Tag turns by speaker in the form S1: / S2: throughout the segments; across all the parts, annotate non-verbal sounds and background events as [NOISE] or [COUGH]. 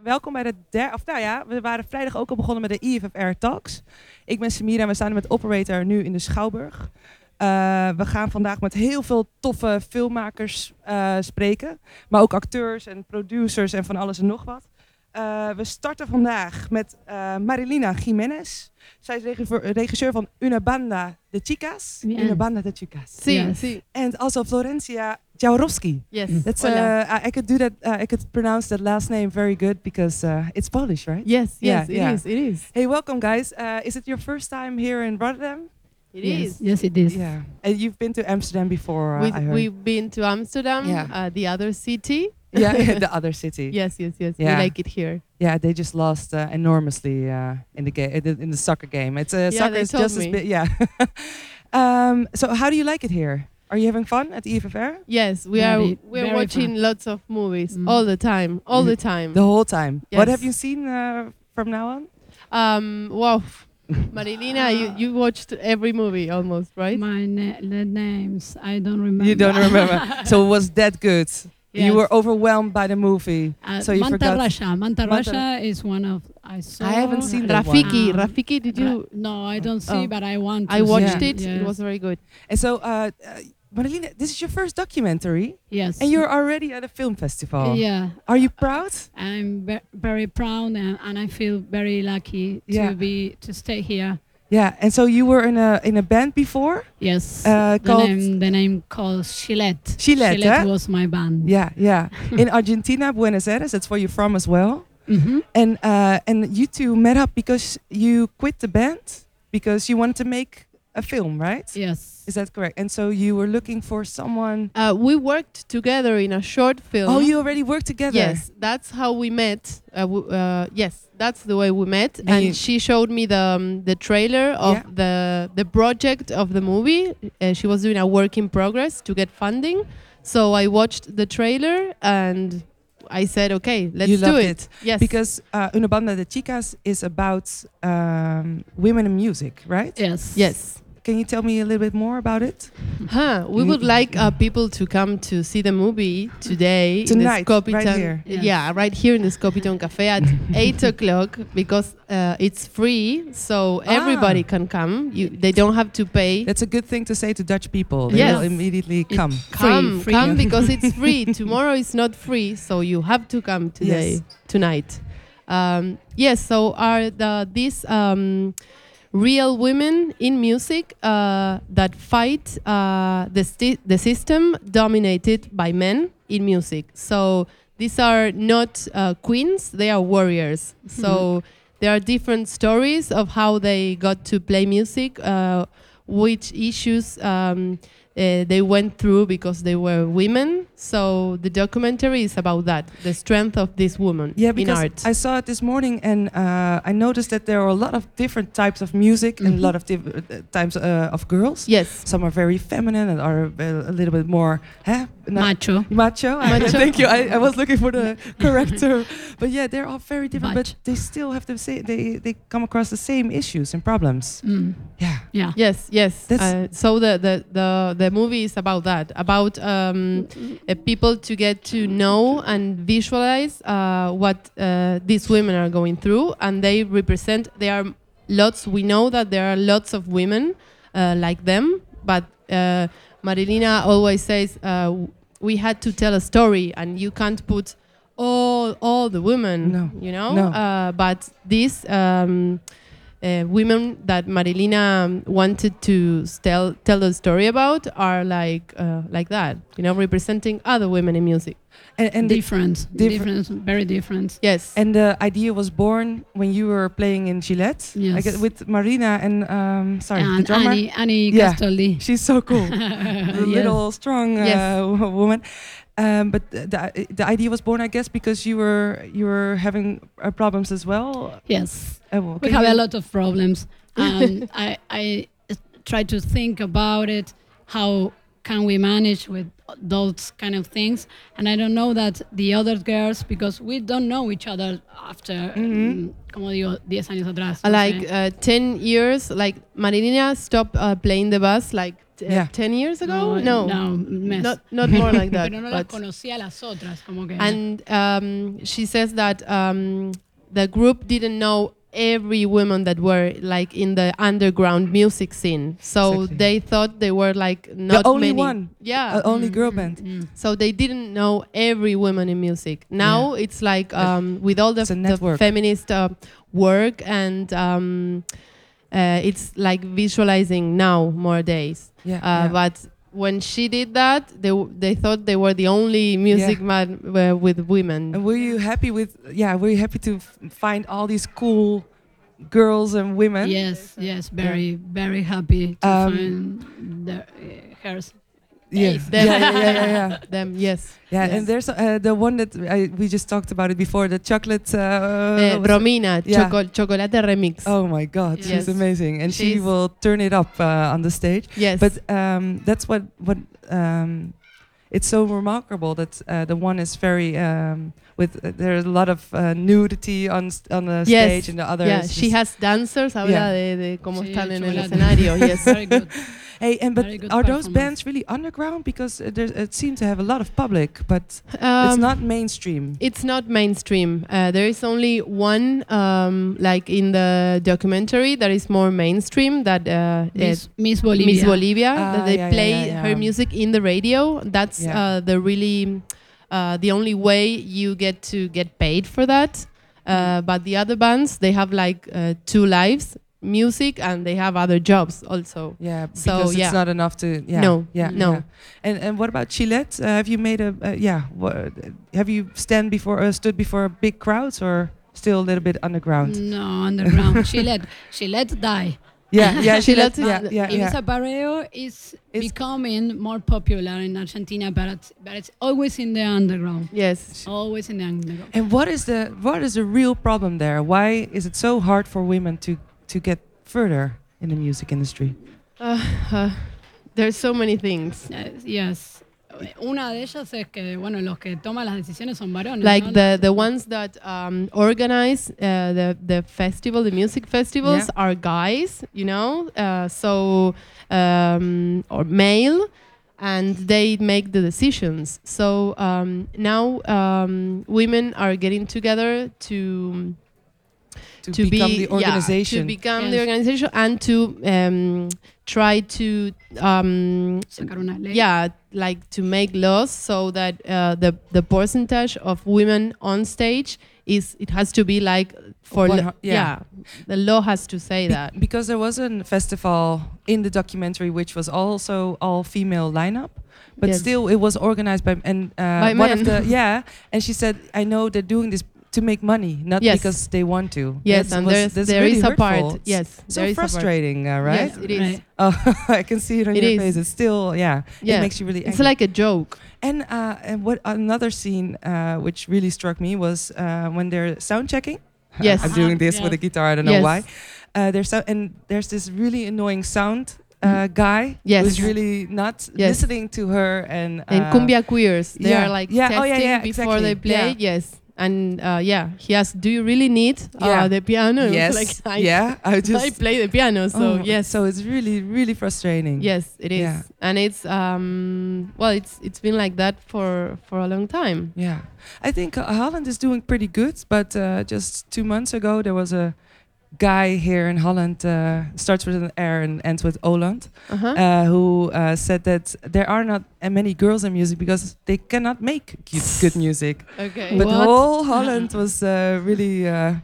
S1: Welkom bij de derde, of nou ja, we waren vrijdag ook al begonnen met de E IFFR Talks. Ik ben Samira en we staan met Operator nu in de Schouwburg. Eh, we gaan vandaag met heel veel toffe filmmakers eh, spreken, maar ook acteurs en producers en van alles en nog wat. Eh, we starten vandaag met eh, Marilina Jiménez. Zij is regisseur, regisseur van Una Banda de Chicas.
S2: Bien.
S1: Una Banda de Chicas.
S2: Sí,
S3: Yes. Mm.
S2: sí.
S1: And also Florencia Jaworowski.
S2: Yes.
S1: That's
S2: Hola.
S1: uh, I, I could do that. Uh, I could pronounce that last name very good because uh, it's Polish, right?
S2: yes,
S1: yeah,
S2: yes,
S1: yeah.
S2: it is. It is.
S1: Hey, welcome, guys. Uh, is it your first time here in Rotterdam?
S2: It
S3: yes.
S2: is.
S3: Yes, it is.
S1: Yeah, and you've been to Amsterdam before. Uh, I
S2: We've,
S1: heard.
S2: we've been to Amsterdam,
S1: Yeah.
S2: uh, the other city.
S1: [LAUGHS]
S2: [LAUGHS]
S1: yeah, yeah, the other city.
S2: Yes, yes, yes.
S1: Yeah.
S2: We like it here.
S1: Yeah, they just lost uh, enormously uh, in the game in the soccer game. It's uh,
S2: Yeah,
S1: soccer
S2: they
S1: is
S2: told
S1: just as
S2: me.
S1: big. Yeah. [LAUGHS] um, so, how do you like it here? Are you having fun at E the EFFR
S2: Yes, we
S3: Very-
S2: are. We're
S3: very
S2: watching
S3: fun.
S2: lots of movies
S3: Mm.
S2: all the time, all
S1: Mm.
S2: the time.
S1: the whole time? What have
S2: Yes.
S1: you seen uh, from now on?
S2: Um,
S1: [LAUGHS]
S2: wow, Marilina, you, you watched every movie almost, right?
S3: My na- the names, I don't remember.
S1: You don't
S2: [LAUGHS]
S1: remember. so, was that good? You
S3: Yes.
S1: were overwhelmed by the movie.
S3: Uh,
S1: so you
S3: Manta
S1: forgot-
S3: Rasha. Manta
S1: Manta-
S3: Rasha is one of I saw.
S1: I haven't seen that one.
S2: Rafiki,
S3: Um,
S2: Rafiki, did
S3: Ra-
S2: you?
S3: no, I don't see,
S2: Oh.
S3: but I want. To
S2: I watched
S3: see.
S2: it. It
S3: Yes.
S2: was very good.
S1: And so, uh, uh, Marilena, this is your first documentary,
S3: Yes.
S1: and you're Oh. already at a film festival.
S3: Yeah,
S1: Are you proud?
S3: I'm ve- very proud and, and I feel very lucky to
S1: Yeah.
S3: be to stay here.
S1: Yeah. And so you were in a in a band before.
S3: Yes.
S1: Uh,
S3: the
S1: called-
S3: name the name called Gillette.
S1: Gillette, eh?
S3: was my band.
S1: Yeah,
S2: [LAUGHS]
S1: yeah. in Argentina, Buenos Aires. That's where you're from as well.
S3: hmm
S1: And uh, and you two met up because you quit the band because you wanted to make a film, right?
S3: Yes.
S1: Is that correct? And so you were looking for someone.
S2: Uh, we worked together in a short film.
S1: Oh, you already worked together.
S2: Yes, that's how we met. Uh, w- uh, yes, that's the way we met,
S1: And
S2: and,
S1: you-
S2: she showed me the um, the trailer of
S1: Yeah.
S2: the the project of the movie. Uh, she was doing a work in progress to get funding, so I watched the trailer and I said, "Okay, let's
S1: you
S2: do
S1: loved
S2: it." Yes,
S1: Because uh, Una Banda de Chicas is about um, women in music, right?
S3: Yes.
S2: yes,
S1: Can you tell me a little bit more about it?
S2: huh? We would like uh, people to come to see the movie today
S1: Tonight,
S2: in the Scopitan.
S1: right here.
S3: Yes.
S2: Yeah, right here in the Scopiton Cafe at 8 o'clock because uh, it's free, so everybody can come. You, they don't have to pay.
S1: That's a good thing to say to Dutch people. They will
S2: Yes.
S1: immediately
S3: It-
S1: come.
S3: free,
S2: come,
S3: free.
S2: come because
S3: [LAUGHS]
S2: it's free. Tomorrow is not free, so you have to come today,
S1: Yes.
S2: tonight. Um, yes, so are the these um, real women in music uh, that fight uh, the sti- the system dominated by men in music. So these are not uh, queens; they are warriors.
S1: Mm-hmm.
S2: So there are different stories of how they got to play music. Uh, which issues um, uh, they went through because they were women. So the documentary is about that, the strength of this woman
S1: Yeah,
S2: in
S1: because
S2: art.
S1: I saw it this morning and uh, I noticed that there are a lot of different types of music and a lot of diff- uh, types uh, of girls.
S2: Mm-hmm. yes.
S1: Some are very feminine and are uh, a a little bit more huh? No-
S3: Macho.
S1: macho. I-
S2: Macho.
S1: [LAUGHS] Thank you. I, I was looking for
S2: [LAUGHS]
S1: the [LAUGHS] correct term. But yeah, they're all very different, but
S3: Macho.
S1: they still have the same, they, they come across the same issues and problems.
S3: Mm.
S1: Yeah.
S3: Yeah.
S2: Yes, yes.
S1: That's-
S2: Uh, so the, the, the, the movie is about that, about um, uh, people to get to know and visualize uh, what uh, these women are going through. And they represent, there are lots, we know that there are lots of women uh, like them, but uh, Marilina always says, uh, we had to tell a story and you can't put all, all the women,
S1: No,
S2: you know?
S1: no.
S2: Uh, but this. Um, uh, women that Marilina um, wanted to s- tell tell a story about are like uh, like that, you know, representing other women in music.
S1: And, and the
S3: different,
S1: different-
S3: different, very different.
S2: Yes,
S1: And the idea was born when you were playing in Gillette I
S3: Yes.
S1: guess, with Marina and, um, sorry, the
S3: and
S1: drummer.
S3: Annie, Annie
S1: Yeah.
S3: Castoldi.
S1: She's so
S3: [LAUGHS]
S1: cool. [LAUGHS] the little strong uh,
S2: Yes.
S1: [LAUGHS] woman. Um, but the, the the idea was born, I guess, because you were you were having uh, problems as well.
S3: Yes,
S1: Uh, well,
S3: we
S1: can
S3: have
S1: you-
S3: a lot of
S1: [LAUGHS]
S3: problems. Um, I, I try to think about it. How can we manage with those kind of things? And I don't know that the other girls, because we don't know each other after,
S1: Mm-hmm.
S3: um, como digo, 10 años atrás.
S2: Uh,
S3: no
S2: like
S3: sé.
S2: uh, ten years. Like Marilina stopped uh, playing the bass like uh,
S1: Yeah.
S2: 10 years ago?
S3: no,
S2: No.
S3: no, mess.
S2: Not, not
S3: [LAUGHS]
S2: more like that.
S3: Pero no las
S2: but-
S3: conocía a las otras, como que.
S2: and um, she says that um, the group didn't know every woman that were like in the underground music scene so
S1: Exactly.
S2: they thought they were like not
S1: only
S2: many.
S1: one.
S2: yeah
S1: Uh, only girl band.
S3: Mm.
S2: so they didn't know every woman in music now it's like um, with all the,
S1: It's a
S2: the
S1: network.
S2: feminist uh, work and um, uh, it's like visualizing now more days
S1: Yeah.
S2: uh,
S1: yeah.
S2: but when she did that they w- they thought they were the only music man uh, with women
S1: And were you happy with? Yeah, were you happy to f- find all these cool girls and women?
S3: Yes, yes, very, very happy to
S1: Um,
S3: find the, uh, hers.
S1: Yeah.
S3: Ace.
S1: [LAUGHS] Yeah, yeah, yeah, yeah, yeah.
S2: [LAUGHS] them yes
S1: Yeah,
S2: Yes.
S1: and there's uh, the one that I, we just talked about it before, the chocolate. Uh,
S2: uh,
S1: what's-
S2: Romina
S1: yeah.
S2: Choco- Chocolate Remix
S1: oh my God,
S2: Yes.
S1: she's amazing, and she
S2: She's-
S1: will turn it up uh, on the stage.
S2: yes
S1: But um, that's what what um, it's so remarkable that uh, the one is very um, with uh, there's a lot of uh, nudity on s- on the
S2: Yes.
S1: stage, and the other.
S2: yeah
S1: is
S2: she
S1: just-
S2: has dancers habla
S1: Yeah.
S2: de, de cómo
S3: Sí,
S2: están en el
S3: chocolate. [LAUGHS]
S1: [LAUGHS]
S2: escenario yes
S3: Very good.
S1: Hey, and but
S3: very good
S1: are those
S3: performance.
S1: bands really underground? Because uh, there's- it seems to have a lot of public, but it's
S2: Um,
S1: not mainstream.
S2: It's not mainstream. Uh, there is only one, um, like in the documentary, that is more mainstream. That uh,
S3: Miss, Miss
S2: uh,
S3: Bolivia.
S2: Miss Bolivia, that
S1: Ah,
S2: they
S1: yeah, yeah,
S2: play
S1: yeah,
S2: her
S1: yeah.
S2: music in the radio. That's
S1: Yeah.
S2: uh, the really, uh, the only way you get to get paid for that. Uh,
S1: Mm-hmm.
S2: but the other bands, they have like uh, two lives, music, and they have other jobs also.
S1: Yeah, because
S2: So, yeah.
S1: it's not enough to. Yeah,
S2: No,
S1: yeah,
S2: no.
S1: yeah. And and what about Chilette? Uh, have you made a? Uh, yeah, wha- have you stand before uh, stood before big crowds or still a little bit underground?
S2: Mm.
S3: No, underground. she let she let die.
S1: Yeah,
S2: [LAUGHS]
S1: yeah,
S2: She
S1: Chilette.
S2: let-
S1: Yeah, [LAUGHS] yeah,
S3: Ibiza
S1: yeah.
S3: Barreo is
S1: It's-
S3: becoming more popular in Argentina, but it's, but it's always in the underground.
S2: Yes.
S3: Always in the underground.
S1: And what is the what is the real problem there? Why is it so hard for women to to get further in the music industry?
S2: Uh, uh, there's so many things.
S3: Uh, yes. Una de ellas es que, bueno, los que toman las decisiones son
S1: Mm-hmm.
S3: varones.
S2: like
S3: ¿no?
S2: the the ones that um, organize uh, the the festival, the music festivals are guys, you know, uh, so um, or male, and they make the decisions. So um, now um, women are getting together to
S1: To,
S2: to
S1: become
S2: be,
S1: the organization.
S2: yeah, to become the
S3: Yes.
S2: organization, and to um, try to um,
S3: Sacar una ley.
S2: yeah like to make laws so that uh, the the percentage of women on stage is it has to be like for
S1: One
S2: lo-
S1: hu-
S2: yeah.
S1: yeah.
S2: the law has to say
S1: Be-
S2: that
S1: because there was a festival in the documentary which was also all female lineup but
S2: Yes.
S1: still it was organized by and uh,
S2: By
S1: one
S2: men.
S1: of
S2: [LAUGHS]
S1: the yeah and she said i know they're doing this to make money not
S2: Yes.
S1: because they want to
S2: yes
S1: That's-
S2: and
S1: was-
S2: there's,
S1: that's
S2: there
S1: really
S2: is a part
S1: hurtful. It's
S2: yes there
S1: so
S2: is a part.
S1: frustrating uh, right
S2: yes it is
S1: [LAUGHS]
S3: Right.
S1: oh i can see it on
S2: It
S1: your
S2: is.
S1: face it's still yeah,
S2: Yeah.
S1: it makes you really
S2: it's
S1: angry
S2: like a joke
S1: and uh, and what another scene uh, which really struck me was uh, when they're sound checking
S2: [LAUGHS] Yes.
S1: i'm doing this
S3: Yeah.
S1: with a guitar i don't know
S2: Yes.
S1: why uh, there's so, and there's this really annoying sound uh, guy
S2: Mm-hmm. Yes.
S1: who's really not
S2: Yes.
S1: listening to her and
S2: and
S1: uh,
S2: cumbia queers they
S1: yeah.
S2: are like
S1: Yeah,
S2: testing
S1: oh, yeah, yeah,
S2: before they
S1: exactly.
S2: play yes and uh, yeah he asked do you really need uh,
S1: Yeah.
S2: the piano [LAUGHS] It's
S1: yes
S2: like I,
S1: [LAUGHS] yeah I
S2: I
S1: just
S2: play the piano so
S1: oh,
S2: yes
S1: so it's really really frustrating
S2: Yes, it is,
S1: Yeah.
S2: and it's um well, it's it's been like that for for a long time.
S1: Yeah, I think uh, Holland is doing pretty good, but uh, just two months ago there was a guy here in Holland, uh, starts with an R and ends with Oland,
S2: Uh-huh.
S1: uh, who uh, said that there are not uh, many girls in music because they cannot make good, good music.
S2: okay,
S1: But
S3: What?
S1: whole Holland was uh, really, uh,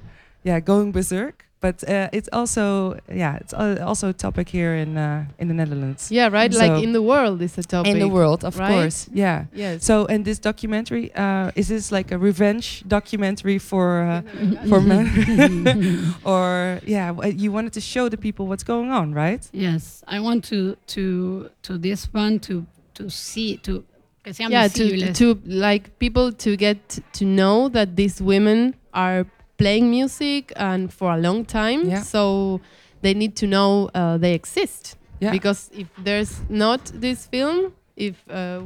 S1: yeah, going berserk. But uh, it's also, yeah, it's al- also a topic here in uh, in the Netherlands.
S2: yeah, right. Like
S1: So-
S2: in the world, it's a topic.
S1: world, of
S2: right?
S1: course. Yeah.
S2: yes.
S1: So, and this documentary uh, is this like a revenge documentary for uh,
S3: [LAUGHS]
S1: for [LAUGHS] men, or yeah, w- you wanted to show the people what's going on, right?
S3: Yes, I want to to to this one to to see to que sean
S2: yeah, to
S3: visibles.
S2: to like people to get to know that these women are playing music and for a long time.
S1: Yeah.
S2: So they need to know uh, they exist
S1: Yeah,
S2: because if there's not this film, if uh,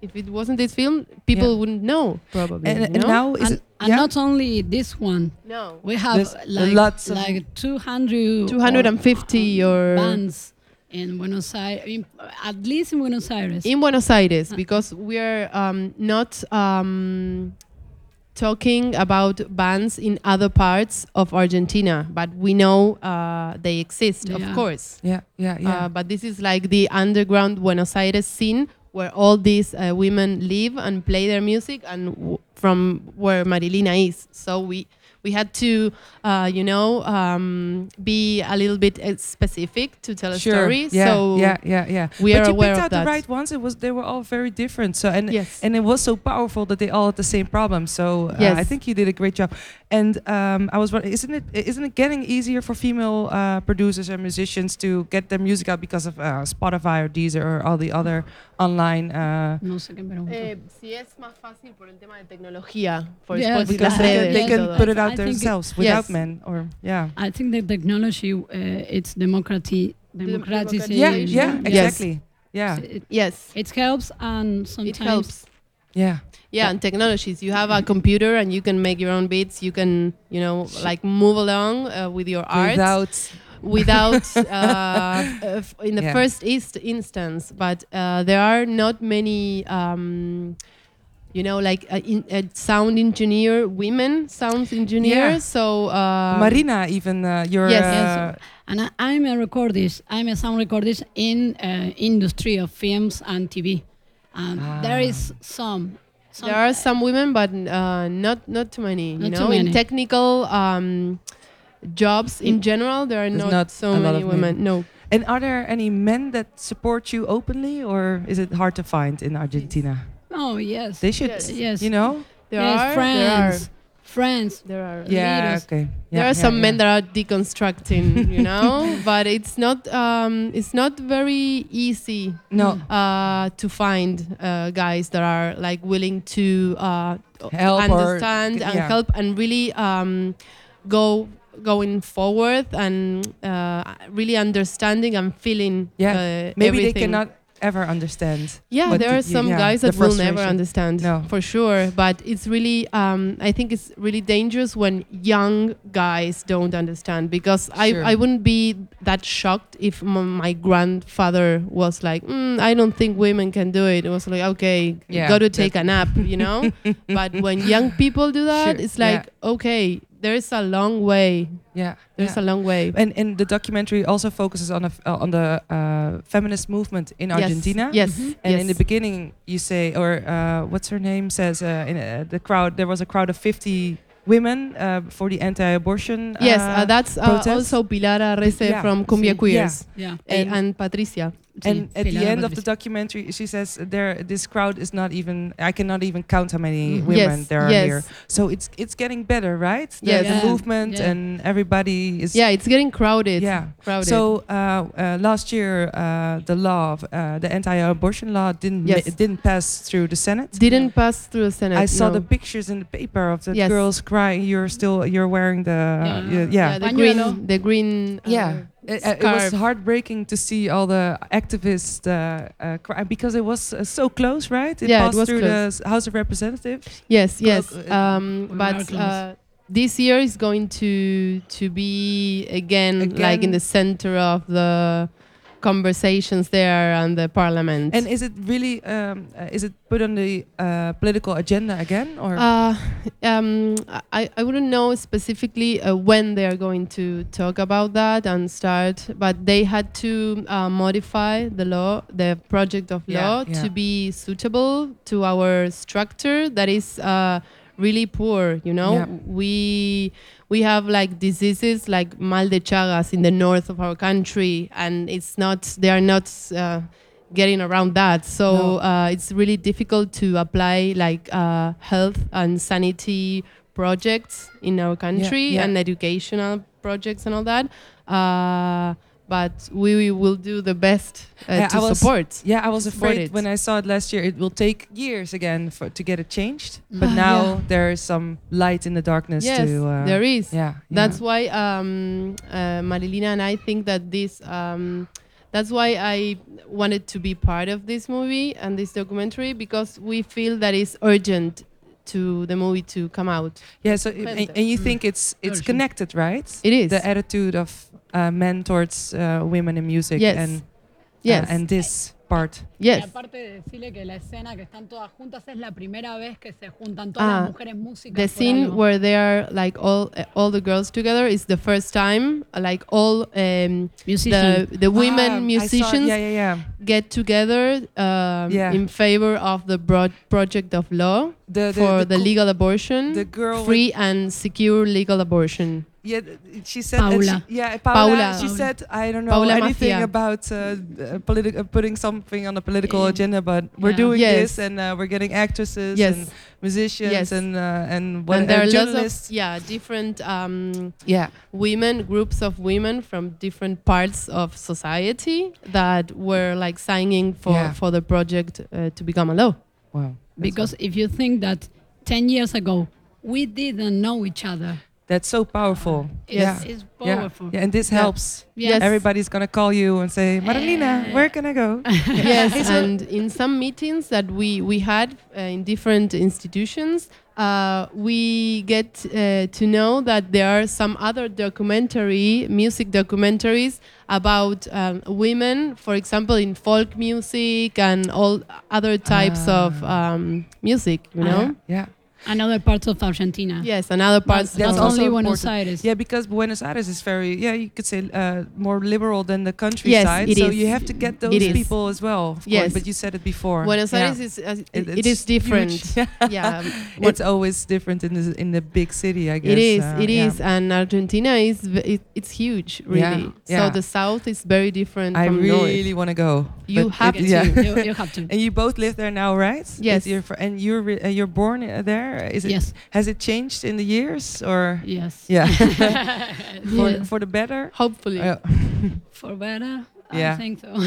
S2: if it wasn't this film, people wouldn't know probably.
S1: and,
S2: you
S1: and
S2: know?
S1: now is
S3: and,
S1: it
S3: and
S1: yeah?
S3: not only this one.
S2: no.
S3: We have
S1: There's
S3: like
S1: lots of-
S3: like 200 or
S2: 250 or
S3: bands in Buenos Aires, in, at least in Buenos Aires.
S2: in Buenos Aires because we are um, not um, talking about bands in other parts of Argentina, but we know uh, they exist,
S3: Yeah.
S2: of course.
S1: Yeah, yeah, yeah.
S2: Uh, but this is like the underground Buenos Aires scene where all these uh, women live and play their music, and w- from where Marilina is. So we we had to, uh, you know, um, be a little bit uh, specific to tell a story.
S1: Yeah,
S2: so
S1: yeah, yeah, yeah.
S2: we
S1: but
S2: are
S1: you
S2: aware
S1: picked
S2: of
S1: out
S2: that.
S1: the right ones. It was they were all very different. So and
S2: yes.
S1: and it was so powerful that they all had the same problem. So uh, I
S2: Yes.
S1: think you did a great job. And um, I was wondering, isn't it isn't it getting easier for female uh, producers and musicians to get their music out because of uh, Spotify or Deezer or all the other online? Uh,
S3: no sé qué pregunta.
S2: Eh, sí es más fácil por el tema de tecnología, por
S3: Yes,
S2: Spotify,
S1: because
S2: las
S1: they,
S3: Yeah,
S1: can,
S2: redes,
S1: they
S3: yeah,
S1: can
S2: todo.
S1: put it out
S3: I think-
S1: themselves without
S2: Yes.
S1: men or yeah.
S3: I think the technology uh, it's democrati- democratization.
S1: Yeah,
S2: Yes.
S1: yeah,
S2: Yes.
S1: exactly. Yeah,
S3: It,
S2: Yes,
S3: it helps and
S2: it
S3: sometimes
S2: helps.
S1: yeah.
S2: Yeah, and technologies. You have a computer and you can make your own beats. You can, you know, like move along uh, with your art
S1: Without
S2: [LAUGHS]
S1: [LAUGHS]
S2: without, uh, uh, f- in the
S1: Yeah.
S2: first ist- instance. But uh, there are not many, um, you know, like uh, in, uh, sound engineer, women sound engineer.
S1: Yeah.
S2: So um,
S1: Marina, even uh, your
S2: Yes.
S1: uh,
S3: Yes. And I, I'm a recordist. I'm a sound recordist in uh, industry of films and TV. And there is some. some
S2: there are some women, but uh, not not too many. you
S3: Not
S2: know,
S3: too many.
S2: in technical um, jobs in general, there are
S1: There's
S2: not,
S1: not a
S2: so
S1: lot
S2: many
S1: of
S2: women.
S1: men.
S2: No,
S1: And are there any men that support you openly, or is it hard to find in Argentina?
S3: Oh yes.
S1: They should,
S2: Yes.
S3: Yes.
S1: you know.
S2: there
S3: yes,
S2: are.
S3: friends. Friends.
S2: There are. There are.
S1: Yeah.
S3: Leaders.
S1: Okay.
S2: there are some men that are deconstructing,
S1: [LAUGHS]
S2: you know, but it's not um, it's not very easy
S1: no
S2: uh, to find uh, guys that are like willing to uh,
S1: help or
S2: understand and
S1: yeah.
S2: help and really um, go going forward and uh, really understanding and feeling
S1: Yeah.
S2: uh,
S1: Maybe they
S2: everything.
S1: cannot ever understand.
S2: yeah
S1: what
S2: there are
S1: the-
S2: some
S1: yeah,
S2: guys
S1: the
S2: that will never
S1: frustration.
S2: understand
S1: No.
S2: for sure but it's really um, i think it's really dangerous when young guys don't understand because
S1: Sure.
S2: I, I wouldn't be that shocked if m- my grandfather was like mm, i don't think women can do it it was like okay
S1: Yeah,
S2: you got to
S1: that-
S2: take a nap you
S1: [LAUGHS]
S2: know [LAUGHS] but when young people do that
S1: Sure,
S2: it's
S1: yeah.
S2: like okay there's a long way
S1: Yeah.
S2: there's
S1: yeah.
S2: a long way
S1: and and the documentary also focuses on a f- uh, on the uh, feminist movement in
S2: Yes,
S1: Argentina. Mm-hmm.
S2: yes,
S3: Mhm.
S1: And
S2: yes.
S1: in the beginning, you say, or uh, what's her name says, uh, in uh, the crowd there was a crowd of fifty women uh, for the anti-abortion.
S2: yes
S1: uh,
S2: uh, that's uh,
S1: protest.
S2: also pilar arrese
S1: Yeah,
S2: from cumbia
S3: sí,
S2: queers
S3: Yeah.
S2: and,
S1: And-
S2: and patricia
S1: and
S3: Sí,
S1: at the
S3: Pilar
S1: end of the
S3: Rodríguez.
S1: documentary she says there this crowd is not even i cannot even count how many
S3: Mhm.
S1: women
S2: Mm-hmm. yes,
S1: there are
S2: yes.
S1: here so it's it's getting better right the,
S2: Yes.
S1: the
S3: Yeah,
S1: movement
S3: yeah.
S1: and everybody is
S2: Yeah, it's getting crowded.
S1: yeah
S2: crowded.
S1: so uh, uh, last year uh, the law of, uh, the anti-abortion law didn't ma-
S2: Yes.
S1: it didn't pass through the senate
S2: didn't pass through the Senate.
S1: I saw
S2: no.
S1: the pictures in the paper of the
S2: Yes.
S1: girls crying. You're still you're wearing the yeah.
S3: Yeah.
S1: yeah.
S2: the
S3: Pañuelo.
S2: green, the green. uh,
S1: Yeah, it, uh, it was
S2: scarf.
S1: heartbreaking to see all the activists uh, uh, cry because it was uh, so close, right? It
S2: Yeah, it
S1: passed
S2: was
S1: through
S2: close.
S1: the s- House of Representatives.
S2: Yes, yes.
S1: Cloak, uh,
S2: Um,
S3: we were
S2: but
S3: close.
S2: uh, this year is going to to be again, like
S1: Again.
S2: in the center of the conversations there and the parliament.
S1: And is it really um, uh, is it put on the uh, political agenda again or
S2: uh, um, I, I wouldn't know specifically uh, when they are going to talk about that and start, but they had to uh, modify the law, the project of
S1: Yeah,
S2: law,
S1: yeah.
S2: to be suitable to our structure that is uh, really poor. You know,
S1: Yeah.
S2: we we have like diseases like mal de chagas in the north of our country, and it's not they are not. Uh, getting around that. So
S1: No.
S2: uh, it's really difficult to apply like uh, health and sanity projects in our country
S1: yeah.
S2: and educational projects and all that. Uh, but we, we will do the best uh,
S1: Yeah, I
S2: to
S1: was-
S2: support.
S1: yeah, I was
S2: Spread
S1: afraid
S2: it.
S1: when I saw it last year. It will take years again for to get it changed. But
S2: Ah,
S1: now
S2: yeah.
S1: there is some light in the darkness.
S2: Yes,
S1: to, uh,
S2: there is.
S1: Yeah,
S2: That's
S1: yeah.
S2: why um, uh, Marilina and I think that this. Um, that's why I wanted to be part of this movie and this documentary because we feel that it's urgent to the movie to come out.
S1: yeah. So i- and, and you think it's it's
S3: Urgent.
S1: connected, right?
S2: Mm. It is.
S1: the attitude of uh, men towards uh, women in music
S2: Yes.
S1: and Yeah,
S2: Yes.
S1: and this part.
S2: Yes.
S3: Y aparte de decirle que la escena que están todas juntas es la primera vez que se juntan todas
S2: Ah,
S3: las mujeres músicas.
S2: the
S3: por
S2: scene
S3: algo.
S2: where they are like all uh, all the girls together is the first time uh, like all um,
S3: Musician.
S2: the the women
S1: Ah, I saw-
S2: musicians
S1: Yeah, yeah, yeah.
S2: get together um,
S1: Yeah.
S2: in favor of the broad project of law
S1: The, the,
S2: for the,
S1: co-
S2: legal abortion
S1: the girl with-
S2: free and secure legal abortion
S1: Yeah, th- she said. and she-
S3: Paula.
S1: yeah, Paula.
S2: Paula.
S1: She
S3: Paula.
S1: said, I don't know
S2: Paula
S1: anything
S2: Mafia.
S1: about uh, uh, politi- uh, putting something on the political
S3: Yeah.
S1: agenda, but we're
S3: Yeah.
S1: doing
S2: Yes.
S1: this, and uh, we're getting actresses
S2: yes
S1: and musicians
S2: Yes.
S1: and uh, and what
S2: and there
S1: uh,
S2: are lots
S1: journalists.
S2: of yeah different um,
S1: yeah,
S2: women groups of women from different parts of society that were like signing for
S1: Yeah.
S2: for the project uh, to become a
S1: [LAUGHS]
S2: law
S1: wow. That's-
S3: Because if you think that 10 years ago, we didn't know each other.
S1: that's so powerful.
S3: It's,
S1: yeah.
S3: it's
S1: Yeah.
S3: powerful.
S1: Yeah, and this
S2: Yeah.
S1: helps.
S2: Yes.
S1: Everybody's gonna call you and say, Marilina,
S3: Eh.
S1: where can I
S2: [LAUGHS]
S1: go?
S2: yes, and in some meetings that we we had uh, in different institutions, uh, we get uh, to know that there are some other documentary music documentaries about um, women, for example, in folk music and all other types of um, music. You know,
S1: Ah. Yeah.
S3: And other parts of Argentina.
S2: yes, and other parts.
S3: Not
S1: That's
S2: of-
S1: also
S3: only Buenos
S1: important.
S3: Aires.
S1: Yeah, because Buenos Aires is very, yeah, you could say uh, more liberal than the countryside.
S2: it
S1: so
S2: is.
S1: you have to get those
S2: It is.
S1: people as well. Of
S2: Yes.
S1: course, but you said it before.
S2: Buenos
S1: Yeah.
S2: Aires is uh,
S1: It-
S2: it
S1: it's
S2: is
S1: [LAUGHS]
S2: different.
S1: huge.
S2: yeah, what-
S1: it's always different in the in the big city, I guess.
S2: It is.
S1: uh,
S2: it
S1: yeah.
S2: is. And Argentina is. v- It, it's huge, really.
S1: Yeah, yeah.
S2: So the south is very different
S1: I
S2: from
S1: really
S2: north.
S1: want to go.
S2: You
S1: but
S2: have
S1: it-
S2: to.
S1: Yeah. [LAUGHS]
S3: you, you have to.
S1: And you both live there now, right? If
S2: Yes.
S1: you're fr- and you're re- uh, you're born uh, there. Is it?
S3: Yes.
S1: Has it changed in the years or?
S3: Yes.
S2: [LAUGHS]
S1: Yeah. [LAUGHS]
S3: [LAUGHS]
S1: for
S2: Yeah.
S1: for the better.
S2: Hopefully,
S1: Uh, [LAUGHS]
S3: For better?
S1: Yeah.
S3: I think so. [LAUGHS]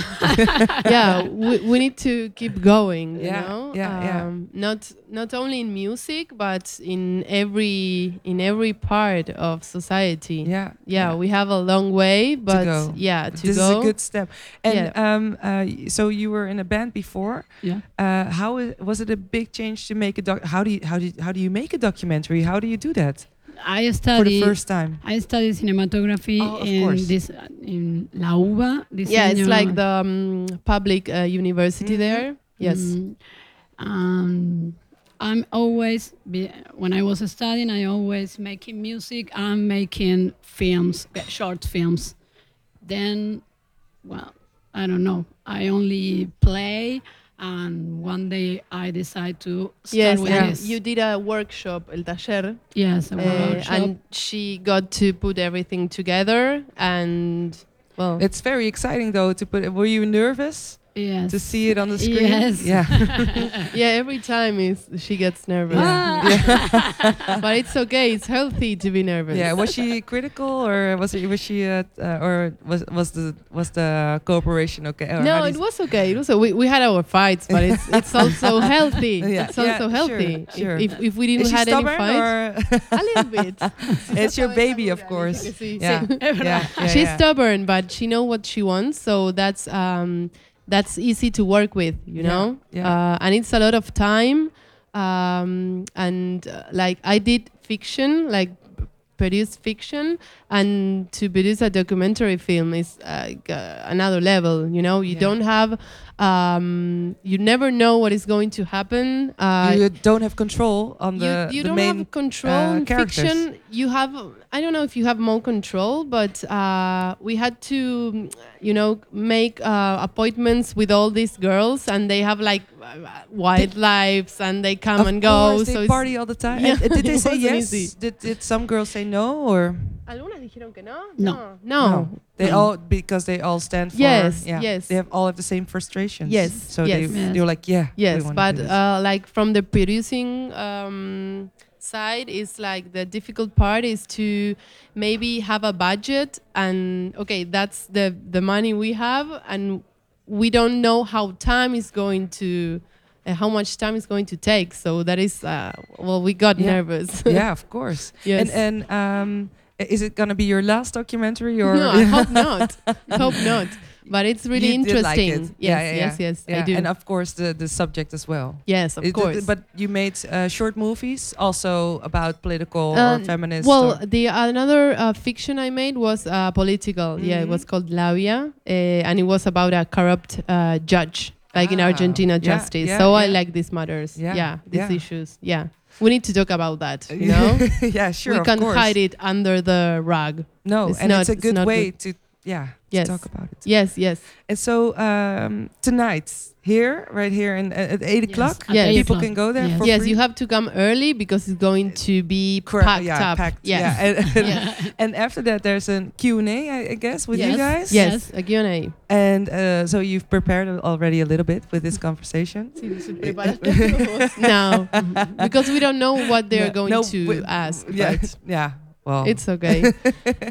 S2: yeah. [LAUGHS] We, we need to keep going. You
S1: Yeah,
S2: know,
S1: yeah, yeah.
S2: um, Not not only in music, but in every in every part of society.
S1: yeah.
S2: Yeah, we have a long way, but
S1: go.
S2: yeah, to
S1: this
S2: go.
S1: is a good step. And um, uh, y- so you were in a band before.
S3: yeah.
S1: Uh, how i- was it a big change to make a doc? How do you how do you, how do you make a documentary? How do you do that
S3: I
S1: for the
S3: studied.
S1: first time?
S3: I studied cinematography
S1: Oh, of
S3: in
S1: course.
S3: this in La UBA.
S2: yeah, it's
S3: diseño-
S2: like the um, public uh, university
S1: Mhm.
S2: there. Yes.
S3: Mm, um, I'm always be, when I was studying, I always making music. I'm making films, uh, short films. Then, well, I don't know. I only play, and one day I decide to start
S2: Yes,
S3: with
S2: and
S3: this.
S2: you did a workshop, El Taller,
S3: yes, a
S2: Uh,
S3: workshop.
S2: and she got to put everything together and well
S1: It's very exciting though to put. Were you nervous
S3: yes.
S1: to
S3: [LAUGHS]
S1: see it on
S2: [LAUGHS]
S1: the screen?
S3: Yes.
S1: Yeah.
S2: [LAUGHS] yeah every time is she gets nervous [LAUGHS] but it's okay it's healthy to be nervous
S1: yeah. Was she critical or was it, was she uh, uh, or was was the was the cooperation okay? Or how
S2: no
S1: do
S2: it
S1: you-
S2: was okay it was we, we had our fights but
S1: [LAUGHS]
S2: it's it's also healthy
S1: Yeah,
S2: it's also
S1: yeah,
S2: healthy
S1: sure, sure.
S2: If, if if we didn't
S1: Is she
S2: had any
S1: stubborn
S2: fights
S1: or
S2: [LAUGHS] a little
S1: [LAUGHS]
S2: bit
S1: it's your baby, of course.
S2: [LAUGHS]
S1: Yeah. yeah, yeah,
S2: she's
S1: yeah.
S2: stubborn but she know what she wants so that's um that's easy to work with you
S1: Yeah,
S2: know
S1: yeah.
S2: Uh, and it's a lot of time um and uh, like i did fiction like p- produce fiction and to produce a documentary film is like uh, another level you know you
S1: Yeah.
S2: don't have um you never know what is going to happen uh
S1: you don't have control on the,
S2: you, you
S1: the
S2: don't
S1: main
S2: have control
S1: uh,
S2: in
S1: characters.
S2: fiction you have i don't know if you have more control but uh, we had to mm, you know make uh, appointments with all these girls and they have like uh, wildlives and they come
S1: of
S2: and go
S1: course,
S2: so
S1: they
S2: it's
S1: party all the time.
S2: [LAUGHS] Yeah.
S1: And, uh, did they
S2: It
S1: say
S2: wasn't
S1: yes?
S2: easy.
S1: Did, did some girls say no or
S2: Algunas dijeron que no?
S3: No.
S2: no
S1: They
S3: No.
S1: all because they all stand for
S2: Yes,
S1: yeah,
S2: yes.
S1: They have all have the same frustrations.
S2: Yes,
S1: so
S2: yes.
S1: they
S3: Yes.
S1: they're like yeah. we
S2: yes
S1: wanna do
S2: but
S1: this.
S2: uh, like from the producing um, side is like the difficult part is to maybe have a budget and okay that's the the money we have and we don't know how time is going to uh, how much time is going to take so that is uh, well we got
S1: Yeah.
S2: nervous [LAUGHS]
S1: yeah, of course.
S2: yes
S1: And
S2: [LAUGHS]
S1: [LAUGHS] and um, i- is it gonna be your last documentary or
S2: no i hope not hope not but it's really
S1: You did
S2: interesting.
S1: like it.
S2: Yes,
S1: Yeah, yeah,
S2: yes, yes, I
S1: Yeah,
S2: do.
S1: And of course, the, the subject as well.
S2: yes, of
S1: It- it-
S2: course.
S1: But you made uh, short movies also about political or
S2: Um,
S1: feminist.
S2: Well,
S1: or-
S2: the another uh, fiction I made was uh, political. Yeah, it
S1: Mhm.
S2: was called Labia, uh, and it was about a corrupt uh, judge, like in
S1: Ah,
S2: Argentina
S1: yeah,
S2: justice.
S1: yeah,
S2: so I
S1: yeah.
S2: like these matters. Yeah,
S1: Yeah,
S2: these
S1: yeah.
S2: issues. Yeah, we need to talk about that. You know, [LAUGHS]
S1: [LAUGHS] yeah, sure.
S2: uh, we
S1: of
S2: can't
S1: course.
S2: hide it under the rug.
S1: No,
S2: It's
S1: and
S2: not-
S1: it's a
S2: it's
S1: good
S2: not
S1: way to yeah
S2: Yes.
S1: to talk about it.
S2: Yes, yes.
S1: And so um, tonight here, right here, in, uh, at eight
S3: Yes,
S1: o'clock,
S3: at
S2: Yes. eight
S1: people
S3: o'clock.
S1: can go there.
S3: Yes.
S1: For
S2: yes,
S1: free?
S2: you have to come early because it's going to be
S1: Correct,
S2: packed
S1: yeah,
S2: up.
S1: Packed.
S2: [LAUGHS] Yes.
S1: Yeah. And, [LAUGHS]
S3: yeah.
S1: and after that, there's a Q and A, I I guess, with you
S3: Yes.
S1: guys.
S2: Yes,
S3: Yes.
S2: a Q&A.
S1: And uh, so you've prepared already a little bit with this conversation. [LAUGHS]
S2: [LAUGHS] no, because we don't know what they're
S1: No,
S2: going
S1: no,
S2: to
S1: we-
S2: ask.
S1: Yeah.
S2: but-
S1: [LAUGHS] Yeah. Well.
S2: It's okay.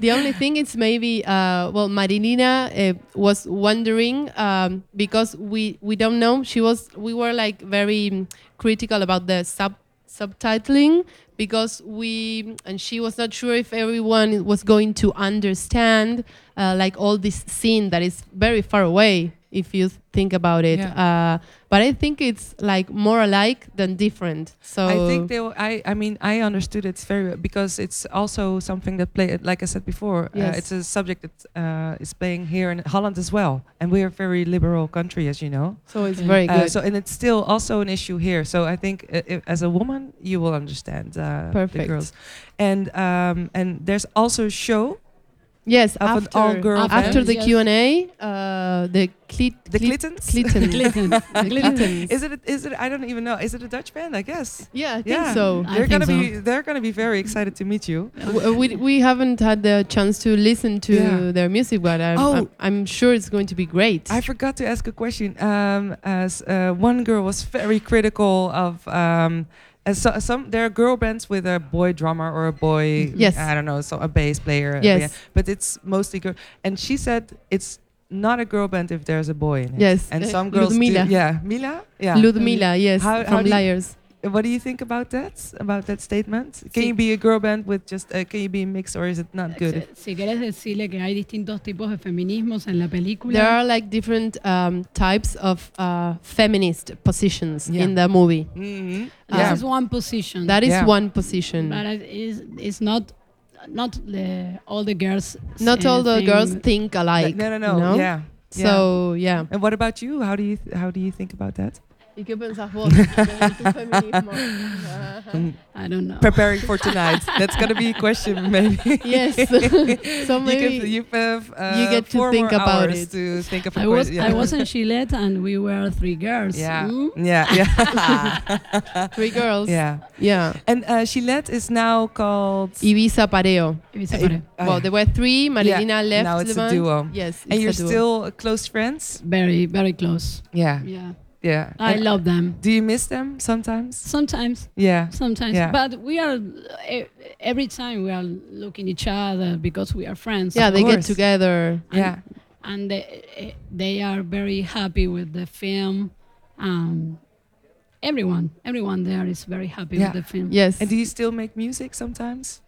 S2: the only thing is maybe, uh, well, Marilina uh, was wondering um, because we we don't know. She was we were like very mm, critical about the sub subtitling because we and she was not sure if everyone was going to understand uh, like all this scene that is very far away if you think about it uh, but i think it's like more alike than different so
S1: I think they. Will, I. I mean, I understood it very well because it's also something that play. Like I said before,
S2: Yes.
S1: uh, it's a subject that uh, is playing here in Holland as well, and we're a very liberal country, as you know.
S2: so it's very
S1: Uh,
S2: good
S1: so, and it's still also an issue here. So, I think uh, i as a woman, you will understand uh, the
S2: Perfect.
S1: girls. And um, and there's also a show
S2: Yes,
S1: of an
S2: after,
S1: all-girl
S2: after,
S3: band.
S2: the
S3: Yes.
S2: Q and A, uh, the clit,
S1: The
S2: clit-
S1: Clittons?
S3: [LAUGHS]
S2: Clitton.
S3: Glisten. Glisten.
S1: [LAUGHS] Is it? Is it? I don't even know. Is it a Dutch band? I guess.
S2: Yeah, I think
S1: Yeah.
S2: so.
S3: I
S1: they're
S3: think
S1: gonna
S3: so.
S1: be. They're gonna be very excited to meet you.
S2: W- uh, We, we haven't had the chance to listen to
S1: Yeah.
S2: their music, but I'm,
S1: Oh.
S2: I'm, I'm sure it's going to be great.
S1: I forgot to ask a question. Um, as uh, one girl was very critical of. Um, as so, some there are girl bands with a boy drummer or a boy
S2: Yes.
S1: I don't know so a bass player a
S2: Yes.
S1: ba- but it's mostly girl and she said it's not a girl band if there's a boy in it
S2: Yes,
S1: and
S2: uh,
S1: some girls
S2: Ludmila.
S1: do, yeah Mila yeah
S2: Ludmila, yes,
S1: How- how
S2: from
S1: do you-
S2: Liars.
S1: what do you think about that about that statement can
S3: Sí.
S1: you be a girl band with just uh, can you be mixed or is it not good
S3: Si quieres decirle que hay distintos tipos de feminismos en la película.
S2: There are like different um, types of uh, feminist positions
S1: Yeah.
S2: in the movie.
S1: hmm
S3: This
S1: yeah
S3: is one position.
S2: That is
S1: Yeah.
S2: one position.
S3: but it is it's not not the, all the girls.
S2: Not all the
S3: think-
S2: girls think alike.
S1: no no no
S2: you know?
S1: yeah yeah.
S2: So yeah.
S1: and what about you how do you th- how do you think about that
S2: ¿Y qué pensás
S1: [LAUGHS]
S2: vos? feminismo.
S3: [LAUGHS]
S2: Um,
S3: I don't know.
S1: preparing for tonight. That's gonna be a question, [LAUGHS] maybe.
S2: yes. so maybe
S1: you, can, you have uh,
S2: you get to
S1: four
S2: think
S1: more
S2: about
S1: hours
S2: it.
S1: to think of a
S3: I was
S1: question.
S3: I was in Gillette and we were three
S1: [LAUGHS]
S3: girls.
S1: Yeah,
S3: Mm?
S1: yeah, yeah,
S2: three girls. Yeah.
S1: yeah. And uh, Gillette is now called.
S2: Ibiza Pareo.
S3: Y viceversa.
S1: Ah,
S2: well, there were three. Marilina left
S1: now it's
S2: the
S1: a
S2: band.
S1: duo.
S2: Yes.
S1: and
S2: it's
S1: you're
S2: a duo.
S1: still close friends.
S3: Very very close.
S1: Yeah,
S3: Yeah,
S1: yeah.
S3: I
S1: And
S3: love them.
S1: do you miss them sometimes?
S3: Sometimes
S1: Yeah.
S3: sometimes
S1: Yeah.
S3: but we are e- every time we are looking each other because we are friends
S2: Yeah,
S1: Of
S2: they get
S1: course.
S2: together.
S1: Yeah,
S3: and they, they are very happy with the film um, everyone everyone there is very happy
S1: Yeah.
S3: with the film
S2: Yes.
S1: and do you still make music sometimes?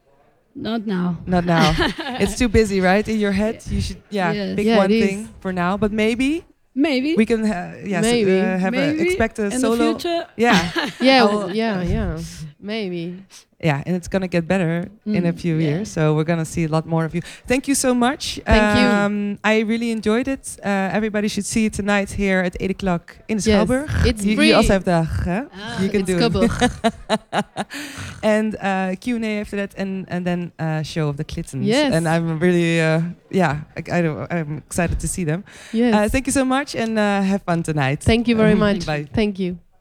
S3: not now
S1: Not now. it's too busy, right? In your head, you should yeah
S3: Yes.
S1: pick
S2: Yeah,
S1: one
S2: it is.
S1: thing for now. But maybe
S3: maybe
S1: we can ha- yes,
S2: Maybe.
S1: uh, have a,
S3: Maybe
S1: expect a
S3: in the
S1: solo
S3: future
S2: [LAUGHS]
S1: yeah
S2: [LAUGHS] yeah.
S1: Oh.
S2: well, yeah. Yeah. Maybe.
S1: yeah and it's gonna get better in a
S3: Mm,
S1: few
S3: yeah.
S1: years so we're gonna see a lot more of you thank you so much
S2: Thank you.
S1: um, i really enjoyed it uh, everybody should see it tonight here at 8 o'clock in the
S2: Yes.
S1: schouwburg
S2: It's
S1: you,
S2: free.
S1: you also have the huh?
S3: Ah,
S2: [LAUGHS]
S1: you can
S2: it's
S1: do [LAUGHS]
S2: Coburg.
S1: it and uh, q&a after that and, and then uh, show of the clintons
S2: Yes.
S1: and i'm really uh, yeah I, I don't, i'm excited to see them
S2: yes.
S1: uh, thank you so much and uh, have fun tonight
S2: Thank you very
S3: Mhm.
S2: much.
S1: [LAUGHS] Bye.
S2: Thank you.